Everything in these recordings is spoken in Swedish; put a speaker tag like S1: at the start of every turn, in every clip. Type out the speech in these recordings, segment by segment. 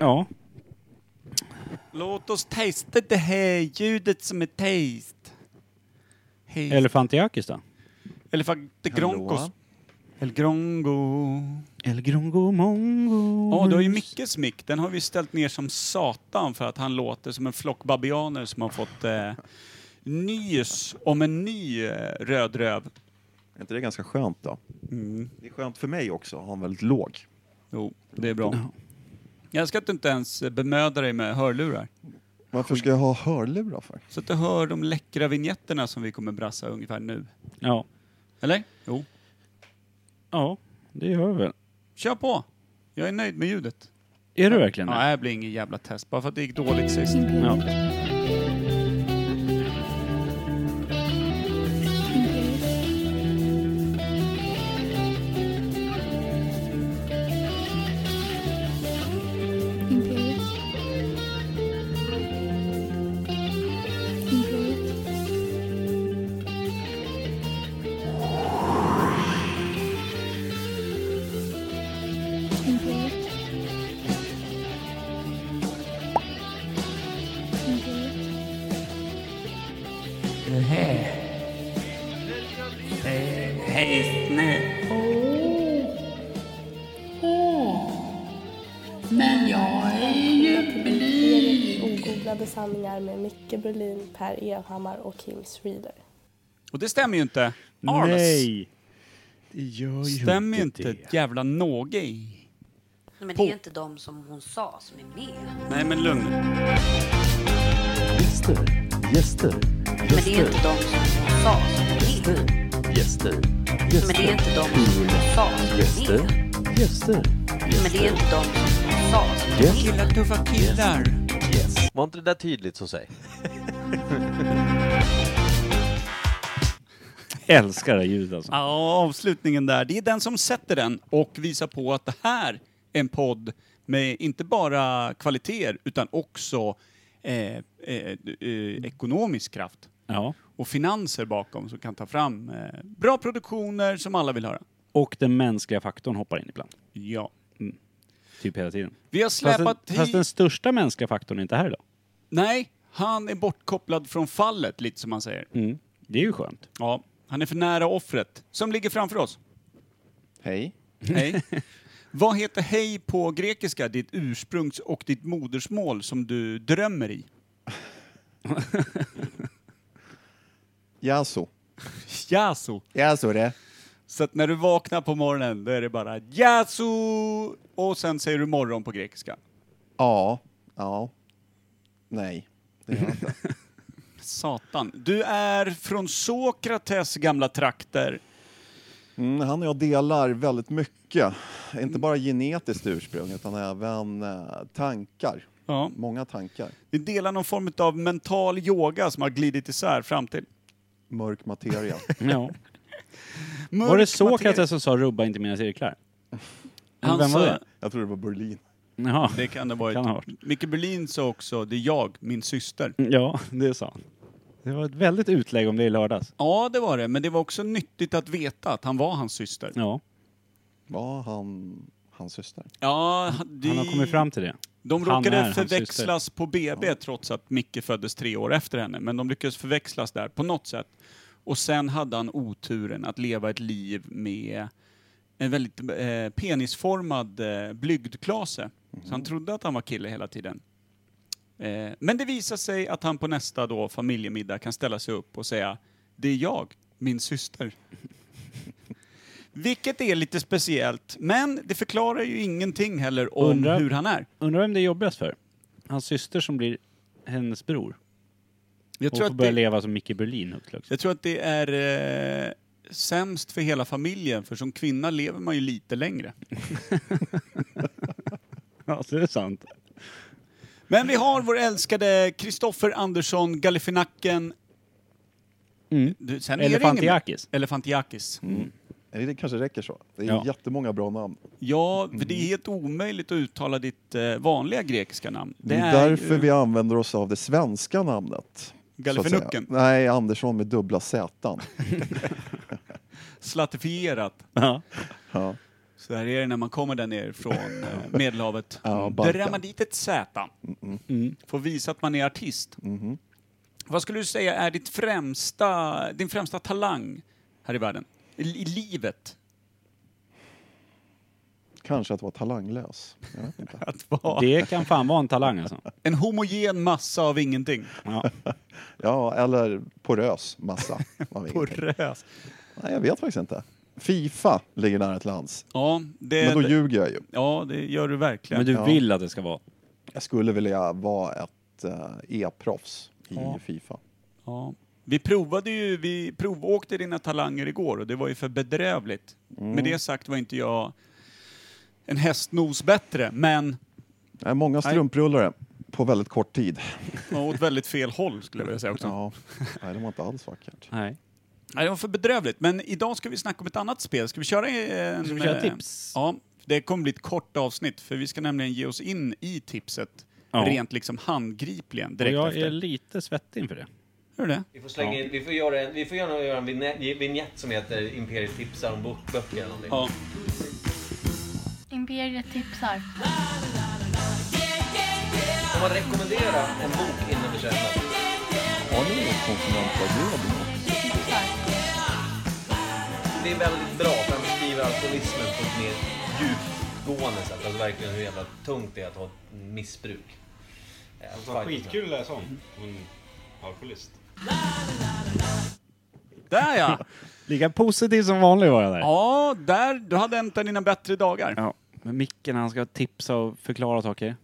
S1: Ja.
S2: Låt oss testa det här ljudet som är taste. Hey.
S1: Elefantiakis då?
S2: Elefante Gronkos.
S3: Hallå?
S2: El Grongo.
S1: El Grongo Mongo.
S2: Ja, du har ju mycket smick. Den har vi ställt ner som satan för att han låter som en flock babianer som har fått eh, nys om en ny eh, rödröv.
S3: Är inte det ganska skönt då?
S2: Mm.
S3: Det är skönt för mig också att ha en väldigt låg.
S2: Jo, det är bra.
S1: Ja.
S2: Jag ska inte ens bemöda dig med hörlurar.
S3: Varför ska jag ha hörlurar för?
S2: Så att du hör de läckra vignetterna som vi kommer brassa ungefär nu.
S1: Ja.
S2: Eller? Jo.
S1: Ja, det gör vi väl.
S2: Kör på! Jag är nöjd med ljudet.
S1: Är du verkligen
S2: Ja,
S1: det?
S2: det här blir ingen jävla test. Bara för att det gick dåligt sist.
S1: Ja.
S4: Men jag är ju blyg.
S5: Ogooglade sanningar med Micke Berlin, Per Evhammar och Kim Reader.
S2: Och det stämmer ju inte. Arles.
S1: Nej! Det gör ju
S2: Stämmer ju inte ett jävla någe i.
S6: Men
S2: På-
S6: det är inte de som hon sa som är med.
S2: Nej men lugn nu.
S7: Gäster, gäster,
S6: Men det är
S7: gäster,
S6: inte de som hon sa som är med.
S7: gäster,
S6: Men det är
S7: gäster,
S6: inte de som hon sa som är
S7: gäster,
S6: med.
S7: gäster,
S6: Men det är inte de som hon sa som är med.
S2: Killar tuffa killar.
S7: yes.
S8: Var inte det där tydligt så säg?
S1: Älskar det här ljudet alltså.
S2: Ja, avslutningen där. Det är den som sätter den och visar på att det här är en podd med inte bara kvaliteter utan också eh, eh, eh, ekonomisk kraft
S1: Ja.
S2: och finanser bakom som kan ta fram eh, bra produktioner som alla vill höra.
S1: Och den mänskliga faktorn hoppar in ibland.
S2: Ja.
S1: Typ hela tiden.
S2: Vi har
S1: Fast
S2: släpat
S1: den, fast den största mänskliga faktorn är inte här idag.
S2: Nej, han är bortkopplad från fallet, lite som man säger.
S1: Mm. Det är ju skönt.
S2: Ja, han är för nära offret, som ligger framför oss.
S3: Hej.
S2: Hej. Vad heter hej på grekiska, ditt ursprungs och ditt modersmål som du drömmer i?
S3: Jaså?
S2: Yasu.
S3: Jaså det?
S2: Så att när du vaknar på morgonen, då är det bara yasu och sen säger du morgon på grekiska.
S3: Ja. Ja. Nej. Det är jag inte.
S2: Satan. Du är från Sokrates gamla trakter.
S3: Mm, han och jag delar väldigt mycket. Inte bara genetiskt ursprung utan även eh, tankar.
S2: Ja.
S3: Många tankar.
S2: Vi delar någon form av mental yoga som har glidit isär fram till.
S3: Mörk materia.
S1: Ja.
S2: Mörk
S1: Var det Sokrates
S2: materia.
S1: som sa rubba inte mina cirklar?
S2: Han
S1: Vem var
S2: sa-
S1: det?
S3: jag tror det var Berlin.
S1: Jaha.
S2: Det kan det ha varit.
S1: Kan ha varit.
S2: Micke Berlin sa också, det är jag, min syster.
S1: Ja, det sa han. Det var ett väldigt utlägg om det i lördags.
S2: Ja, det var det. Men det var också nyttigt att veta att han var hans syster.
S1: Ja,
S3: Var han hans syster?
S2: Ja, det-
S1: han har kommit fram till det.
S2: De
S1: Han är
S2: råkade
S1: hans
S2: förväxlas på BB trots att Micke föddes tre år efter henne. Men de lyckades förväxlas där på något sätt. Och sen hade han oturen att leva ett liv med en väldigt eh, penisformad eh, blygdklase. Så
S1: Mhm.
S2: han trodde att han var kille hela tiden. Eh, men det visar sig att han på nästa då, familjemiddag kan ställa sig upp och säga Det är jag, min syster. Vilket är lite speciellt, men det förklarar ju ingenting heller om
S1: Undrar-
S2: hur han är.
S1: Undrar vem det är jobbigast för? Hans syster som blir hennes bror.
S2: Jag
S1: Hon
S2: tror,
S1: får
S2: att
S1: börja
S2: det,
S1: leva som Micke Berlin högt upp.
S2: jag tror att det är eh, sämst för hela familjen, för som kvinna lever man ju lite längre.
S1: Ja, det är sant.
S2: Men vi har vår älskade Kristoffer Andersson, Gallifinacken...
S1: Mm.
S2: Du, sen är det ingen-
S1: Elefantiakis. Mm.
S2: Elefantiakis.
S3: Eller Det kanske räcker så. Det är
S1: Ja.
S3: jättemånga bra namn.
S2: Ja, för det
S1: Mm.
S2: är helt omöjligt att uttala ditt eh, vanliga grekiska namn.
S3: Det är därför vi använder oss av det svenska namnet. så att säga.
S2: Gallifinucken.
S3: Nej, Andersson med dubbla Z.
S2: Slatifierat.
S1: Ja.
S3: Ja.
S2: Så där är det när man kommer där ner från eh, Medelhavet.
S3: Ja, Balkan.
S2: Drar man dit ett Z.
S3: Mm.
S2: Får visa att man är artist.
S3: Mm-hmm.
S2: Vad skulle du säga är ditt främsta, din främsta talang här i världen? I, i livet?
S3: Kanske att vara talanglös. Jag vet inte.
S2: Att vara
S1: Det kan fan vara en talang alltså.
S2: en homogen massa av ingenting.
S1: Ja.
S3: Ja, eller porös massa. av ingenting.
S2: Porös.
S3: Nej, jag vet faktiskt inte. Fifa ligger nära till hands.
S2: Ja, det,
S3: Men då ljuger jag ju.
S2: ja, det gör du verkligen.
S1: Men du vill att det ska vara.
S3: Jag skulle vilja vara ett eh, e-proffs i
S2: Ja.
S3: Fifa.
S2: Ja. Vi provade ju, vi provåkte dina talanger igår och det var ju för bedrövligt.
S1: Mm.
S2: Med det sagt var inte jag en hästnos bättre, men
S3: Nej, många strumprullare på väldigt kort tid.
S2: jag åt väldigt fel håll skulle jag vilja säga också.
S3: Ja. Nej, det var inte alls vackert.
S1: Nej.
S2: Nej, det var för bedrövligt. Men idag ska vi snacka om ett annat spel. Ska vi köra en...
S1: Ska vi köra
S2: eh,
S1: tips?
S2: Ja, det kommer bli ett kort avsnitt för vi ska nämligen ge oss in i tipset
S1: Ja.
S2: rent liksom handgripligen
S1: Och
S2: direkt
S1: jag
S2: efter.
S1: är lite svettig inför det.
S2: Hör du det?
S8: Vi får, slänga in, vi får göra en, vi får gärna göra en vinä- vignett som heter Imperiet tipsar om bok- böcker eller någonting.
S2: Ja.
S9: Imperiet tipsar.
S8: Får man rekommendera en bok innan vi köper den?
S3: Har ni någon konsumentvägledning?
S8: Det är väldigt bra för han beskriver alkoholismen på ett mer djupgående sätt. Alltså verkligen hur jävla tungt det är att ha ett missbruk. Eh, fight-
S10: att läsa om. Hon alkoholist.
S2: Där ja!
S1: Lika positiv som vanlig var jag där.
S2: Ja, där. Du hade en av dina bättre dagar.
S1: Ja. Men Micken han ska tipsa och förklara saker.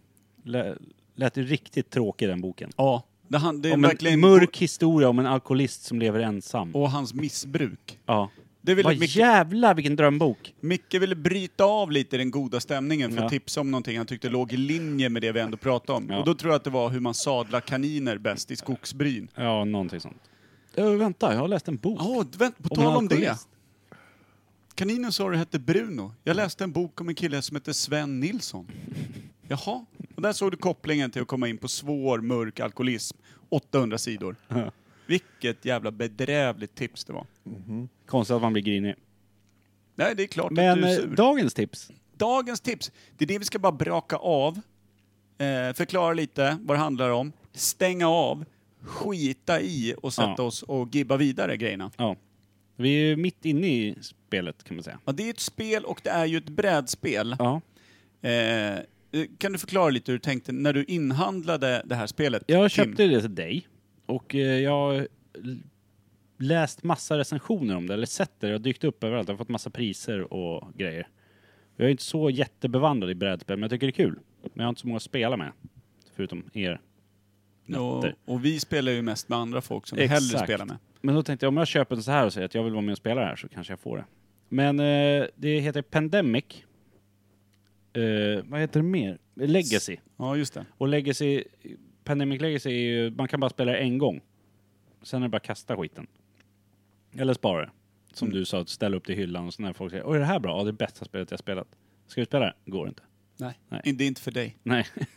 S1: Lä- Lät ju riktigt tråkig den boken.
S2: Ja. Det, han, det är
S1: Om en
S2: verkligen
S1: mörk historia om en alkoholist som lever ensam.
S2: och hans missbruk.
S1: Ja.
S2: Det ville
S1: Vad
S2: Micke,
S1: jävlar vilken drömbok!
S2: Micke ville bryta av lite den goda stämningen för att
S1: Ja.
S2: tipsa om någonting han tyckte låg i linje med det vi ändå pratade om.
S1: Ja.
S2: Och då tror jag att det var hur man sadlar kaniner bäst i skogsbryn.
S1: Ja, någonting sånt. Ö, vänta, jag har läst en bok.
S2: Ja, vänta, på
S1: Om en
S2: tal om det.
S1: alkoholist.
S2: Kaninen sa du hette Bruno. Jag läste en bok om en kille som hette Sven Nilsson. Jaha, och där såg du kopplingen till att komma in på svår, mörk alkoholism. 800 sidor. Vilket jävla bedrävligt tips det var.
S1: Konstigt att man blir grinig.
S2: Nej, det är klart att
S1: Men
S2: du är
S1: eh,
S2: sur.
S1: dagens tips.
S2: Dagens tips, det är det vi ska bara braka av. Eh, förklara lite vad det handlar om. Stänga av, skita i och sätta
S1: Ja.
S2: oss och gibba vidare grejerna.
S1: Ja. Vi är ju mitt inne i spelet kan man säga.
S2: Ja, det är ett spel och det är ju ett brädspel.
S1: Ja.
S2: Eh, kan du förklara lite hur du tänkte när du inhandlade det här spelet?
S1: Jag
S2: Kim?
S1: köpte det till dig och eh, jag har l- läst massa recensioner om det, eller sett det. Det har dykt upp överallt. Jag har fått massa priser och grejer. Jag är inte så jättebevandrad i brädspel, men jag tycker det är kul. Men jag har inte så många att spela med. Förutom er.
S2: och, och vi spelar ju mest med andra folk som vi
S1: Exakt.
S2: hellre spelar med.
S1: Men då tänkte jag, om jag köper en så här och säger att jag vill vara med och spela det här så kanske jag får det. Men eh, det heter Pandemic. Eh, vad heter det mer? Legacy.
S2: Ja, just det.
S1: Och Legacy, Pandemic Legacy är ju, man kan bara spela det en gång. Sen är det bara att kasta skiten. Eller spara det. Som
S2: Mm.
S1: du sa, att ställa upp till hyllan och sådana här folk säger Åh, är det här bra? Ja, det är bästa spelet jag spelat. Ska vi spela det? Går inte.
S2: Nej.
S1: Nej.
S2: Det är inte för dig.
S1: Nej.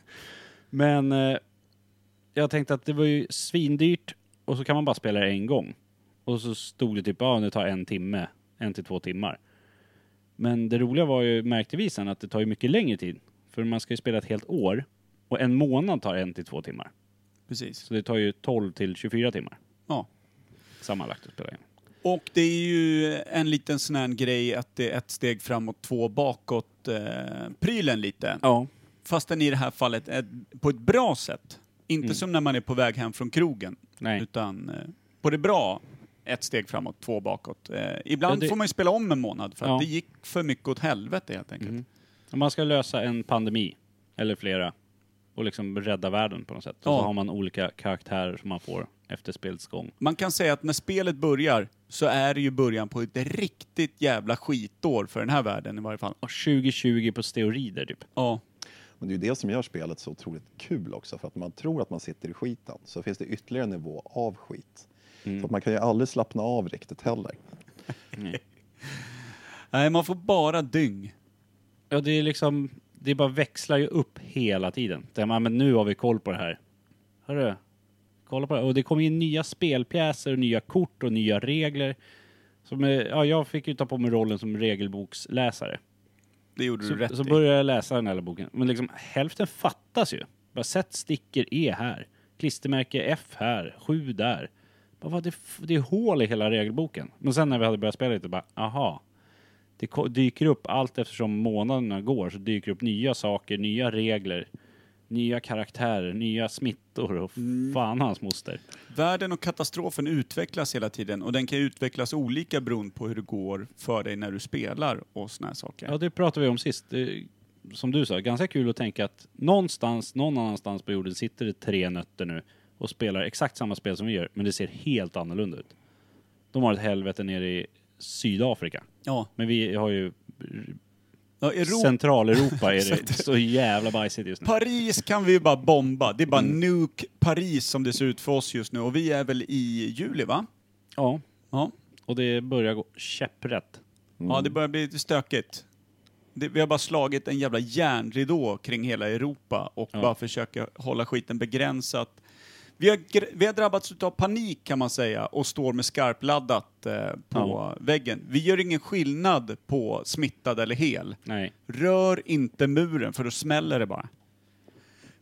S1: Men eh, jag tänkte att det var ju svindyrt och så kan man bara spela det en gång. Och så stod det typ, ja det tar en timme, en till två timmar. Men det roliga var ju, märkte vi sen, att det tar ju mycket längre tid. För man ska ju spela ett helt år och en månad tar en till två timmar.
S2: Precis.
S1: Så det tar ju 12 till 24 timmar
S2: Ja.
S1: sammanlagt att spela in.
S2: Och det är ju en liten sån här grej att det är ett steg framåt, två bakåt eh, prylen lite.
S1: Ja.
S2: Fastän i det här fallet ett, på ett bra sätt. Inte som när man är på väg hem från krogen.
S1: Mm. Nej.
S2: Utan eh, på det bra, ett steg framåt, två bakåt. Eh, ibland
S1: Ja, det-
S2: får man ju spela om en månad för att
S1: Ja. Mm.
S2: det gick för mycket åt helvete helt enkelt.
S1: Om man ska lösa en pandemi, eller flera, och liksom rädda världen på något sätt.
S2: Ja.
S1: Och så har man olika karaktärer som man får efter spelets gång.
S2: Man kan säga att när spelet börjar så är det ju början på ett riktigt jävla skitår för den här världen i varje fall.
S1: Och 2020 på steroider typ.
S2: Ja,
S3: Men det är ju det som gör spelet så otroligt kul också, för att man tror att man sitter i skiten, så finns det ytterligare en nivå av skit. Så att man kan ju aldrig slappna av riktigt heller.
S2: nej man får bara dyng.
S1: Ja, det är liksom, det bara växlar ju upp hela tiden. Det är, "Ja, men nu har vi koll på det här. Hörru, kolla på det. här." Och det kommer in nya spelpjäser och nya kort och nya regler. Som, eh, ja, jag fick ju ta på mig rollen som regelboksläsare.
S2: det gjorde du rätt
S1: Så
S2: i.
S1: började jag läsa den här boken. Men liksom, hälften fattas ju. Bara sätt sticker E här. Klistermärke F här. 7 där. Bara, vad, det, f- det är hål i hela regelboken. Men sen när vi hade börjat spela lite bara, aha. Det ko- dyker upp allt eftersom månaderna går så dyker upp nya saker, nya regler. Nya karaktärer, nya smittor och
S2: Mm.
S1: fan hans moster.
S2: Världen och katastrofen utvecklas hela tiden och den kan ju utvecklas olika beroende på hur det går för dig när du spelar och såna här saker.
S1: Ja, det pratade vi om sist. Det, är, som du sa, ganska kul att tänka att någonstans, någon annanstans på jorden sitter det tre nötter nu och spelar exakt samma spel som vi gör, men det ser helt annorlunda ut. De har ett helvete nere i Sydafrika.
S2: Ja,
S1: Men vi har ju
S2: ja Europa,
S1: Centraleuropa är det så jävla bajsigt just nu.
S2: Paris kan vi ju bara bomba. Det är bara nuke Paris som det ser ut för oss just nu och vi är väl i juli va?
S1: Ja,
S2: Ja,
S1: och det börjar gå käpprätt.
S2: ja
S1: Mm.
S2: det börjar bli lite stökigt. Det, vi har bara slagit en jävla järnridå kring hela Europa och bara försöker hålla skiten begränsat. Vi har, gr- vi har drabbats av panik kan man säga och står med skarpladdat eh, på väggen. Vi gör ingen skillnad på smittad eller hel.
S1: Nej.
S2: Rör inte muren för då smäller det bara.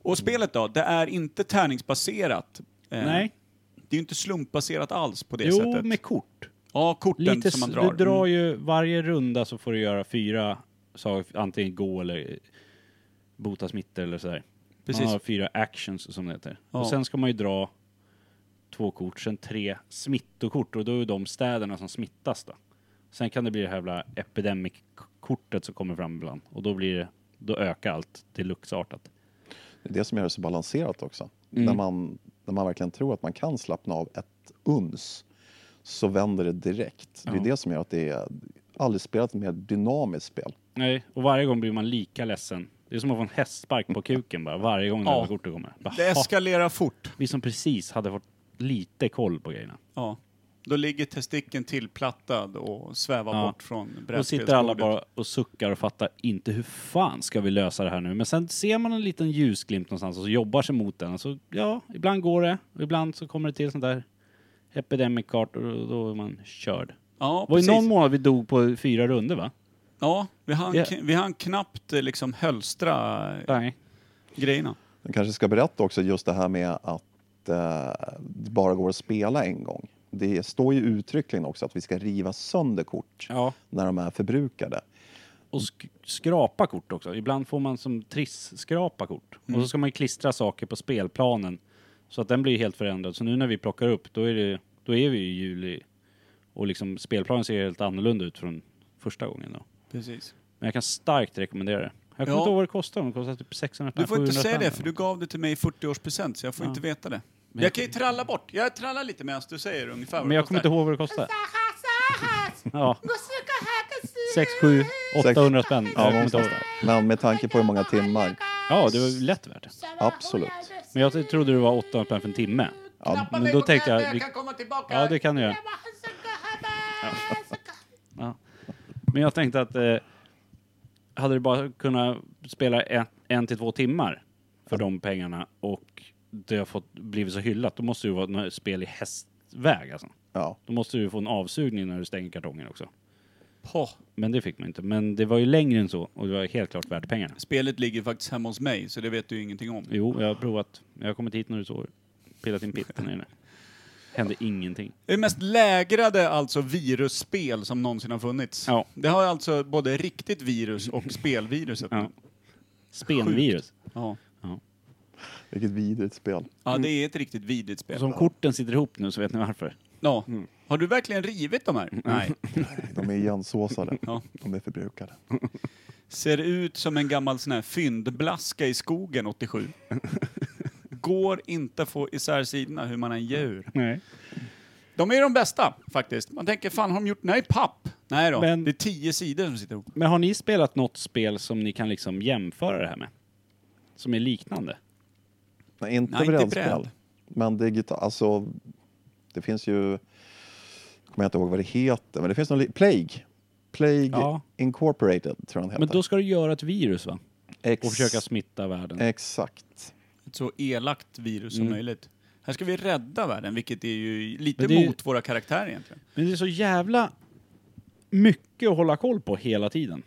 S2: Och spelet då? Det är inte tärningsbaserat. Eh,
S1: Nej.
S2: Det är ju inte slumpbaserat alls på det
S1: Jo,
S2: sättet.
S1: med kort.
S2: Ja, korten
S1: Lite,
S2: som man
S1: s-
S2: drar. Mm.
S1: Du drar ju varje runda så får du göra fyra saker, antingen gå eller eh, bota smittor eller sådär.
S2: Precis.
S1: Man har fyra actions som det heter.
S2: Ja.
S1: Och sen ska man ju dra två kort, sen tre smittokort och då är de städerna som smittas då. Sen kan det bli det här jävla epidemic-kortet som kommer fram ibland och då blir det, då ökar allt till luxartat.
S3: Det är det som gör det så balanserat också. När, man, när man verkligen tror att man kan slappna av ett uns så vänder det direkt. Det är det som gör att det är aldrig spelat ett mer dynamiskt spel.
S1: Nej, och varje gång blir man lika ledsen. Det är som att få en hästspark på kuken bara, varje gång det
S2: Ja.
S1: här kortet kommer. Bara,
S2: Det eskalerar fort.
S1: vi som precis hade fått lite koll på grejerna.
S2: Ja. Då ligger testikeln tillplattad och svävar
S1: Ja.
S2: bort från brädspelsbordet.
S1: Då sitter alla bara och suckar och fattar inte hur fan ska vi lösa det här nu. Men sen ser man en liten ljusglimt någonstans och så jobbar sig mot den. Och så, ja, ibland går det och ibland så kommer det till sånt där epidemic card och då- då är man körd.
S2: Ja,
S1: Det var ju
S2: precis.
S1: någon månad vi dog på fyra runder va?
S2: Ja, vi hann,
S1: Ja.
S2: k- vi hann knappt eh, liksom hölstra eh,
S1: Nej.
S2: grejerna.
S3: Jag kanske ska berätta också just det här med att eh, det bara går att spela en gång. Det står ju uttryckligen också att vi ska riva sönder kort
S1: Ja.
S3: när de är förbrukade.
S1: Och sk- skrapa kort också. Ibland får man som triss skrapa kort. Och
S2: Mm.
S1: så ska man ju klistra saker på spelplanen så att den blir helt förändrad. Så nu när vi plockar upp, då är, det, då är vi i juli och liksom spelplanen ser helt annorlunda ut från första gången då.
S2: Precis.
S1: Men jag kan starkt rekommendera det. Jag kommer
S2: Ja.
S1: inte ihåg vad det kostar, men det kostar typ 600
S2: Du får inte
S1: 700
S2: säga
S1: spänn
S2: det för
S1: eller
S2: du gav det till mig i 40-årspresent så jag får inte veta det. Jag kan ju tralla bort. Jag trallar lite medan du säger ungefär
S1: något.
S2: vad
S1: Men
S2: det
S1: jag kommer inte
S2: kostar.
S1: ihåg vad det kostar. Ja. 6, 7, 800 spänn.
S3: Ja,
S1: jag kommer inte ihåg.
S3: någonstans där. Men med tanke på hur många timmar,
S1: ja, det var ju lätt värt det.
S3: absolut.
S1: Men jag trodde det var 800 spänn för en timme. men då tänkte jag... vi- Ja, det kan du göra. Ja. Men jag tänkte att eh, hade du bara kunnat spela en, en till två timmar för de pengarna och det har fått, blivit så hyllat, då måste det ju vara något spel i hästväg alltså.
S3: Ja,
S1: Då måste du ju få en avsugning när du stänger kartongen också.
S2: Poh.
S1: Men det fick man inte. Men det var ju längre än så och det var helt klart värt pengarna.
S2: Spelet ligger faktiskt hemma hos mig så det vet du ju ingenting om.
S1: Jo, jag har provat. Jag har kommit hit när du såg pillat in pitten i den. här. Hände ingenting.
S2: Det är mest lägrade alltså virusspel som någonsin har funnits.
S1: Ja.
S2: Det har alltså både riktigt virus och spelviruset.
S1: Ja. Spenvirus.
S2: Ja.
S3: vilket vidrigt spel.
S2: ja, det är ett riktigt vidrigt spel.
S1: Mm. Så Mm. om korten sitter ihop nu så vet ni varför.
S2: Ja. Har du verkligen rivit de här?
S1: Mm.
S2: Nej.
S3: De är igensåsade.
S2: Ja.
S3: De är förbrukade.
S2: Ser ut som en gammal sån här fyndblaska i skogen 87. Går inte att få isär sidorna hur man än gör.
S1: Nej.
S2: De är de bästa faktiskt. Man tänker, fan har de gjort den här i papp? Nej då,
S1: Men-
S2: det är tio sidor som sitter ihop.
S1: Men har ni spelat något spel som ni kan liksom jämföra det här med? Som är liknande?
S3: Nej, inte
S2: Nej, inte
S3: brädspel.
S2: bräd.
S3: Men digital, alltså, det finns ju... Jag kommer inte ihåg vad det heter, men det finns någon... li- Plague. Plague
S1: Ja.
S3: Incorporated, tror jag den heter.
S1: Men då ska du göra ett virus va?
S3: Ex-
S1: Och försöka smitta
S2: Eh.
S1: världen.
S3: Exakt.
S2: Ett så elakt virus som möjligt. Här ska vi rädda världen, vilket är ju lite
S1: Men det är ju-
S2: mot våra karaktärer egentligen.
S1: Men det är så jävla mycket att hålla koll på hela tiden.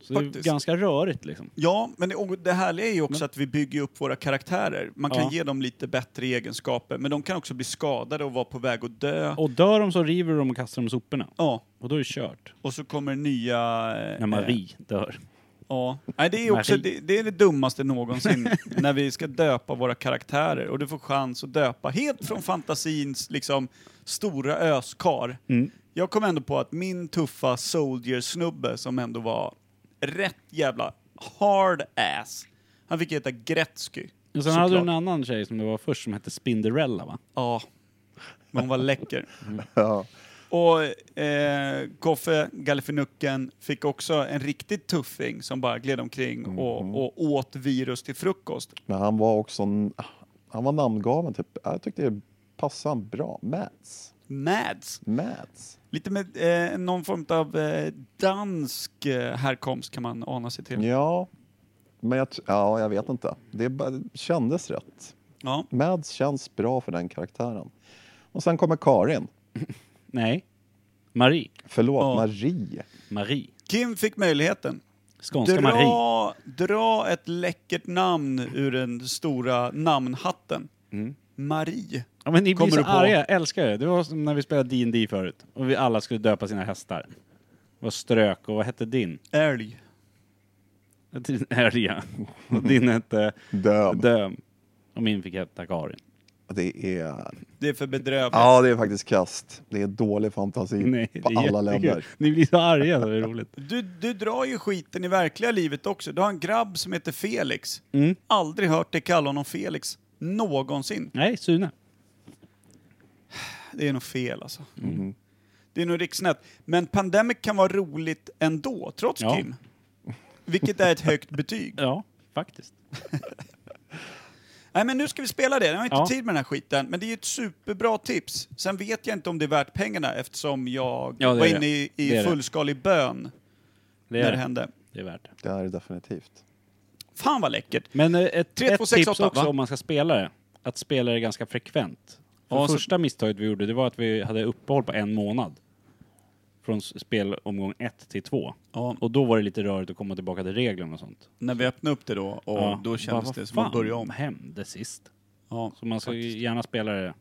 S1: Så det är
S2: Faktiskt.
S1: ganska rörigt liksom.
S2: Ja, men det, och det härliga är ju också att vi bygger upp våra karaktärer. Man kan
S1: Ja.
S2: ge dem lite bättre egenskaper, men de kan också bli skadade och vara på väg att dö.
S1: Och dör de så river de och kastar dem i soporna.
S2: Ja,
S1: Och då är det kört.
S2: och så kommer nya... eh,
S1: När Marie dör.
S2: Ja. Nej, det är, också,
S1: Marie.
S2: det, det är det dummaste någonsin, när vi ska döpa våra karaktärer och du får chans att döpa helt från fantasins liksom, stora öskar.
S1: Mm.
S2: Jag kom ändå på att min tuffa soldier-snubbe, som ändå var rätt jävla hard-ass, han fick heta Gretzky.
S1: Och sen hade du
S2: såklart.
S1: en annan tjej som det var först som hette Spinderella va?
S2: Ja, men hon var läcker.
S3: Ja.
S2: Och eh, Koffe, Gallifinucken, fick också en riktigt tuffing som bara gled omkring och,
S3: Mm-hmm.
S2: och åt virus till frukost.
S3: Men han var också... n- Han var namngaven. Typ. Jag tyckte det passade han bra. Mads.
S2: Mads.
S3: Mads.
S2: Lite med eh, någon form av eh, dansk eh, härkomst kan man ana sig till.
S3: Ja. Men jag, t- ja, jag vet inte. Det bara- kändes rätt.
S2: Ja.
S3: Mads känns bra för den karaktären. Och sen kommer Karin.
S1: Nej. Marie.
S3: Förlåt,
S2: Ja.
S3: Marie.
S1: Marie.
S2: Kim fick möjligheten.
S1: Skånska Marie.
S2: Dra, dra ett läckert namn ur den stora namnhatten.
S3: Mm.
S2: Marie.
S1: Ja, men ni blir
S2: Kommer
S1: så
S2: du på-
S1: arga, jag älskar det. Det var som när vi spelade D&D förut och vi alla skulle döpa sina hästar. Det var Strök och vad hette din?
S2: Älg.
S1: Din Älga. Och din hette
S3: Döm.
S1: Döm. Och min fick heta Karin.
S3: Det är...
S2: Det är för bedrövligt.
S3: Ja, det är faktiskt kast. Det är dålig fantasi
S1: Nej, det
S3: på
S1: är
S3: alla
S1: jättekul.
S3: länder.
S1: Ni blir så arga, det är roligt.
S2: Du, du drar ju skiten i verkliga livet också. Du har en grabb som heter Felix.
S1: Mm.
S2: Aldrig hört dig kalla honom Felix. Någonsin.
S1: Nej, Sune.
S2: Det är nog fel alltså.
S1: Mm.
S2: Det är nog riksnett. Men Pandemic kan vara roligt ändå, trots
S1: Ja.
S2: Kim. Vilket är ett högt betyg.
S1: Ja, faktiskt.
S2: Nej men nu ska vi spela det, jag har inte
S1: Ja.
S2: tid med den här skiten. Men det är ju ett superbra tips. Sen vet jag inte om det är värt pengarna eftersom jag
S1: Ja, det
S2: var
S1: är
S2: inne
S1: det.
S2: i,
S1: Det
S2: i
S1: är det.
S2: fullskalig bön
S1: Det
S2: när
S1: är,
S2: det
S1: det.
S2: hände.
S1: det är värt det.
S3: Det är det definitivt.
S2: Fan vad läckert.
S1: Men eh, ett,
S2: Tre, två,
S1: ett
S2: sex,
S1: tips
S2: åtta,
S1: också
S2: va?
S1: om man ska spela det, att spela det ganska frekvent. För
S2: Ja, så-
S1: första misstaget vi gjorde, det var att vi hade uppehåll på en månad. Från s- spelomgång 1 till 2.
S2: Ja.
S1: Och då var det lite rörigt att komma tillbaka till reglerna och sånt.
S2: När vi öppnade upp det då, och
S1: Ja,
S2: då
S1: bara,
S2: kändes
S1: vad
S2: det som att
S1: fan
S2: börja om.
S1: hände sist?
S2: Ja,
S1: Så man ska
S2: faktiskt.
S1: ju gärna spela det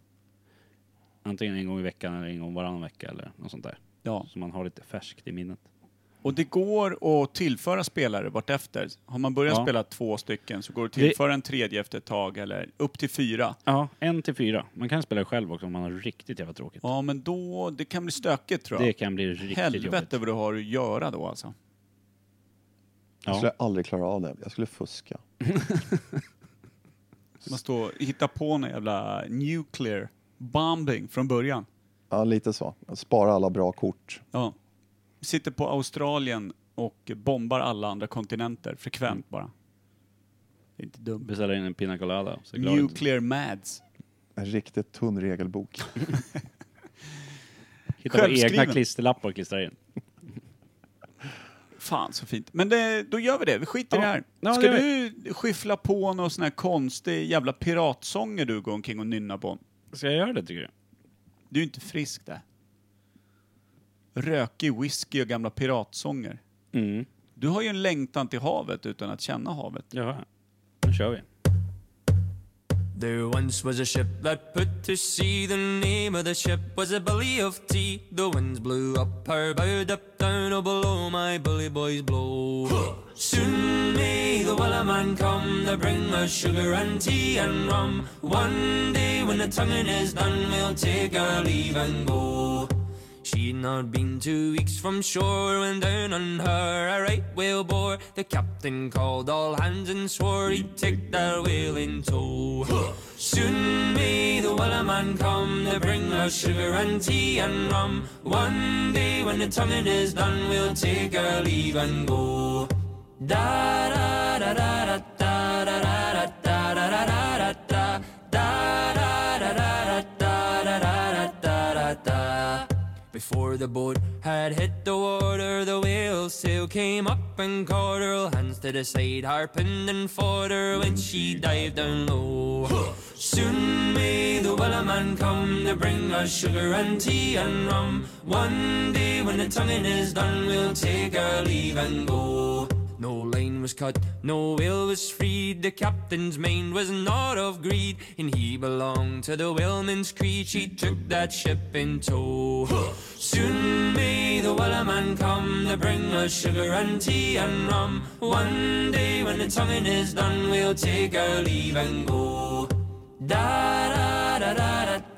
S1: antingen en gång i veckan eller en gång varannan vecka eller något sånt där.
S2: ja.
S1: Så man har lite färskt i minnet.
S2: Och det går att tillföra spelare vartefter. Har man börjat
S1: Ja.
S2: spela två stycken så går det att tillföra en tredje efter ett tag, eller upp till fyra.
S1: Ja, en till fyra. Man kan spela själv också om man har riktigt jävla tråkigt.
S2: Ja, men då, det kan bli stökigt tror jag.
S1: Det kan bli riktigt jobbigt.
S2: Helvete vad du har att göra då alltså.
S3: Jag
S1: Ja.
S3: skulle aldrig klara av det. Jag skulle fuska.
S2: Man står och hittar på någon jävla nuclear bombing från början.
S3: Ja, lite så. Spara alla bra kort.
S2: Ja. Sitter på Australien och bombar alla andra kontinenter
S1: Mm.
S2: frekvent bara. Det är inte dumt.
S1: Beställa in en pina colada. Så är glad.
S2: Nuclear mads.
S3: En riktigt tunn regelbok.
S1: Hitta på egna
S2: Självskriven.
S1: klisterlappar och klistra in.
S2: Fan så fint. Men det, då gör vi det, vi skiter i
S1: Ja.
S2: det här.
S1: Ja,
S2: Ska
S1: det gör
S2: du skyffla på någon sån här konstig jävla piratsånger du går omkring och nynnar på?
S1: Ska jag göra det tycker du?
S2: Du är inte frisk där. Rökig whisky och gamla piratsånger.
S1: Mm.
S2: Du har ju en längtan till havet utan att känna havet.
S1: Jaha. Nu kör vi.
S9: There once was a ship that put to sea. The name of the ship was a belly of tea. The winds blew up her bow, up down, oh below my bully boys blow. Soon may the willow man come to bring us sugar and tea and rum. One day when the tonguing is done, we'll take our leave and go. She'd not been two weeks from shore when down on her a right whale bore. The captain called all hands and swore he'd take their whale in tow. Soon may the willow man come to bring us sugar and tea and rum. One day when the tonguing is done, we'll take our leave and go. Da da da da da da da da da da da da da da da da da da da da da da da before the boat had hit the water, the whale sail came up and caught her. Hands to the side, harping and fought her when she dived down low. Soon may the willow man come to bring us sugar and tea and rum. One day when the tonguing is done, we'll take our leave and go. was cut, no will was freed. The captain's mind was not of greed, and he belonged to the whaleman's creed. She took that ship in tow. Soon may the wellerman come to bring us sugar and tea and rum. One day when the tonguing is done, we'll take our leave and go. Da da da da da